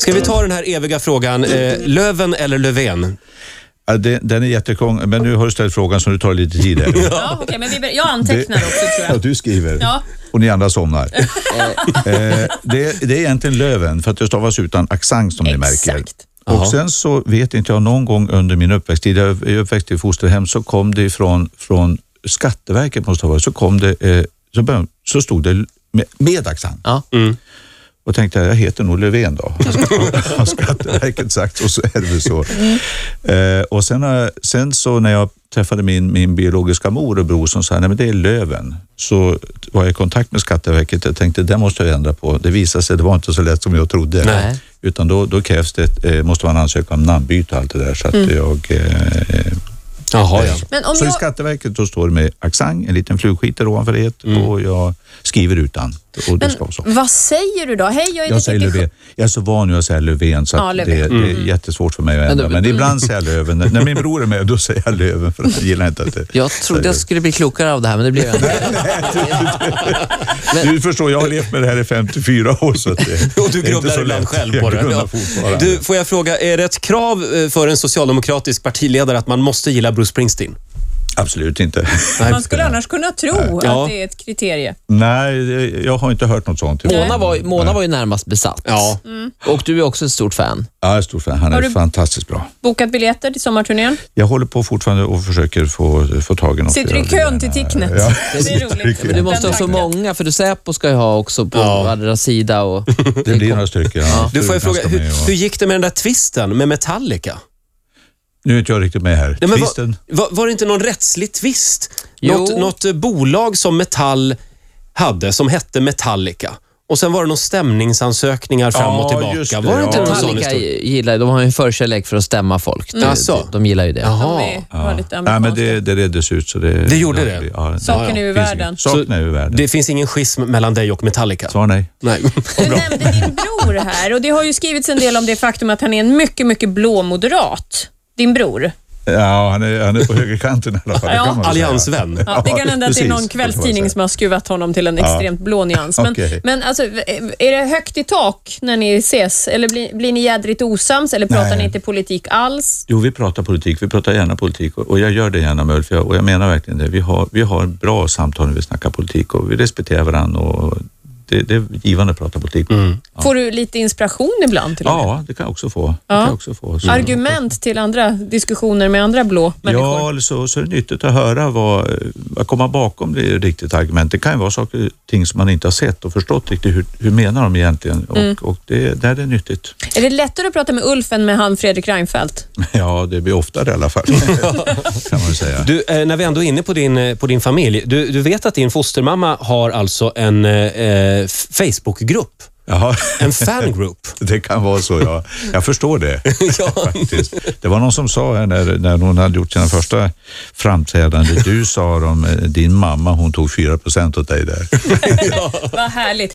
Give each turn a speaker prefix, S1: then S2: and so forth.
S1: Ska vi ta den här eviga frågan, eh, Löven eller Löfven?
S2: Ja, det, den är jättekrånglig, men nu har du ställt frågan så nu tar det lite tid. Här.
S3: Ja, okej, men vi, ber- jag antecknar
S2: Det-
S3: också tror
S2: Ja,
S3: jag.
S2: du skriver.
S3: Ja.
S2: Och ni andra somnar. eh, det, det är egentligen Löven, för att det stavas utan accent som ni märker.
S3: Exakt.
S2: Och
S1: Jaha.
S2: sen så vet inte jag någon gång under min uppväxttid, jag är uppväxt i fosterhem, så kom det ifrån, från Skatteverket måste det ha varit, så kom det, eh, så, började, så stod det med, med accent.
S4: Ja.
S1: Mm.
S2: Och tänkte jag, jag heter nog Löfven då. Har Skatteverket sagt och så är det väl så. Eh, och sen, har jag- sen så när jag träffade min, min biologiska mor och bror som sa, nej men det är Löven. Så var jag i kontakt med Skatteverket och tänkte, det måste jag ändra på. Det visade sig, det var inte så lätt som jag trodde.
S4: Nej.
S2: Utan då, då krävs det, ett, eh, måste man ansöka om namnbyte och allt det där. Så att jag... Eh,
S1: Jaha, ja.
S3: Men Mm. om
S2: så i
S3: jag,
S2: Skatteverket då står det med accent, en liten flugskiter ovanför det och jag skriver utan. Och det ska vara så.
S3: vad säger du då? Hej, jag är
S2: Jag säger
S3: detektiv-
S2: Löfven. Jag är så van vid att säga Löfven så att
S3: Ja, Löfven.
S2: Det, det
S1: Mm.
S2: är jättesvårt för mig att ändra.
S4: Men
S2: Men,
S4: du-
S2: ibland säger jag Löfven. När min bror är med då säger jag Löven för att jag gillar inte att det...
S4: Jag trodde jag skulle bli klokare av det här, men det blev jag inte.
S2: Du förstår, jag har levt med det här i 54 år så att det,
S1: Och du
S2: det är inte
S1: grubblar
S2: så
S1: ibland
S2: lätt.
S1: själv på
S2: jag
S1: det.
S2: grunnar
S1: Ja.
S2: fortfarande.
S1: Du, får jag fråga, är det ett krav eh, för en socialdemokratisk partiledare att man måste gilla Bruce Springsteen?
S2: Absolut inte.
S3: Man skulle annars kunna tro
S1: Ja.
S3: att det är ett kriterie.
S2: Nej, det- jag har inte hört något sånt.
S4: Mona var, ju- Mona var ju närmast besatt. Mm.
S1: Ja.
S4: Och du är också ett stort fan.
S2: Ja, jag är stor fan. Han är
S3: Har du-
S2: fantastiskt bra.
S3: Bokat biljetter till sommarturnén?
S2: Jag håller på fortfarande och försöker få, få tag i något.
S3: Sitter du i kön till Ticknet?
S2: Ja.
S3: Det är roligt.
S4: Men du måste
S3: Den
S4: ha så
S3: tanken.
S4: många, för du Säpo ska ju ha också på
S1: Ja.
S4: andra sida. Och
S2: Det blir några stycken. Ja.
S1: Du, får jag
S2: Strukan
S1: fråga,
S2: ska med och-
S1: hur, hur gick det med den där twisten med Metallica?
S2: Nu är inte jag riktigt med här.
S1: Nej, men var-
S2: Twisten.
S1: Var, var det inte någon rättslig tvist?
S4: Jo.
S1: Något, något eh, bolag som Metall hade som hette Metallica. Och sen var det någon stämningsansökningar fram
S2: Ja,
S1: och
S2: just
S1: tillbaka.
S2: det,
S1: var det inte
S2: ja.
S1: någon sån
S4: Metallica
S1: historia?
S4: gillar, de har ju en förkärlek för att stämma folk. De,
S1: Asså.
S4: de gillar ju det.
S3: De
S1: Jaha.
S3: är, var lite
S2: Nej, men
S3: amerikanska.
S2: det, det reddes ut. Så det,
S1: Det gjorde det?
S2: Ja,
S3: Saken är ur
S2: Finns
S3: världen.
S2: inget. Saken är ur världen.
S1: Det finns ingen schism mellan dig och Metallica?
S2: Svar nej.
S1: Nej.
S3: Du nämnde din bror här och det har ju skrivits en del om det faktum att han är en mycket, mycket blå moderat. Din bror.
S2: Ja, han är, han är på högerkanten i alla fall. det
S3: Ja.
S2: kan man väl säga.
S1: Alliansvän.
S3: Ja, det kan
S2: Ja,
S3: hända att det är
S2: precis,
S3: någon kvällstidning
S2: det får
S3: som har skruvat honom till en extremt blå nyans. Men,
S2: Okej.
S3: men alltså, är det högt i tak när ni ses? Eller blir, blir ni jädrigt osams? Eller pratar
S2: Nej.
S3: ni inte politik alls?
S2: Jo, vi pratar politik. Vi pratar gärna politik och och jag gör det gärna med Ulf jag- och jag menar verkligen det. Vi har, vi har bra samtal när vi snackar politik och vi respekterar varandra och det, det är givande att prata politik.
S3: Får du lite inspiration ibland? Till och med?
S2: Ja, det kan jag också få. Det kan jag också få. Så-
S3: Argument till andra diskussioner med andra blå människor?
S2: Ja, eller så, så är det nyttigt att höra vad, eh, att komma bakom det är ett riktigt argument. Det kan ju vara saker och ting som man inte har sett och förstått riktigt. Hur, hur menar de egentligen? Och, och det, där är det nyttigt.
S3: Är det lättare att prata med Ulf än med han Fredrik Reinfeldt?
S2: Ja, det blir oftare i alla fall, kan man säga.
S1: Du, eh, när vi ändå är inne på din, eh, på din familj. Du, du vet att din fostermamma har alltså en eh, eh, f- Facebookgrupp?
S2: Jaha.
S1: En fangroup?
S2: Det kan vara så, ja. Jag förstår det. faktiskt. Det var någon som sa här när, när hon hade gjort sina första framträdanden, du sa om eh, din mamma, hon tog 4 procent åt dig där.
S3: Vad härligt.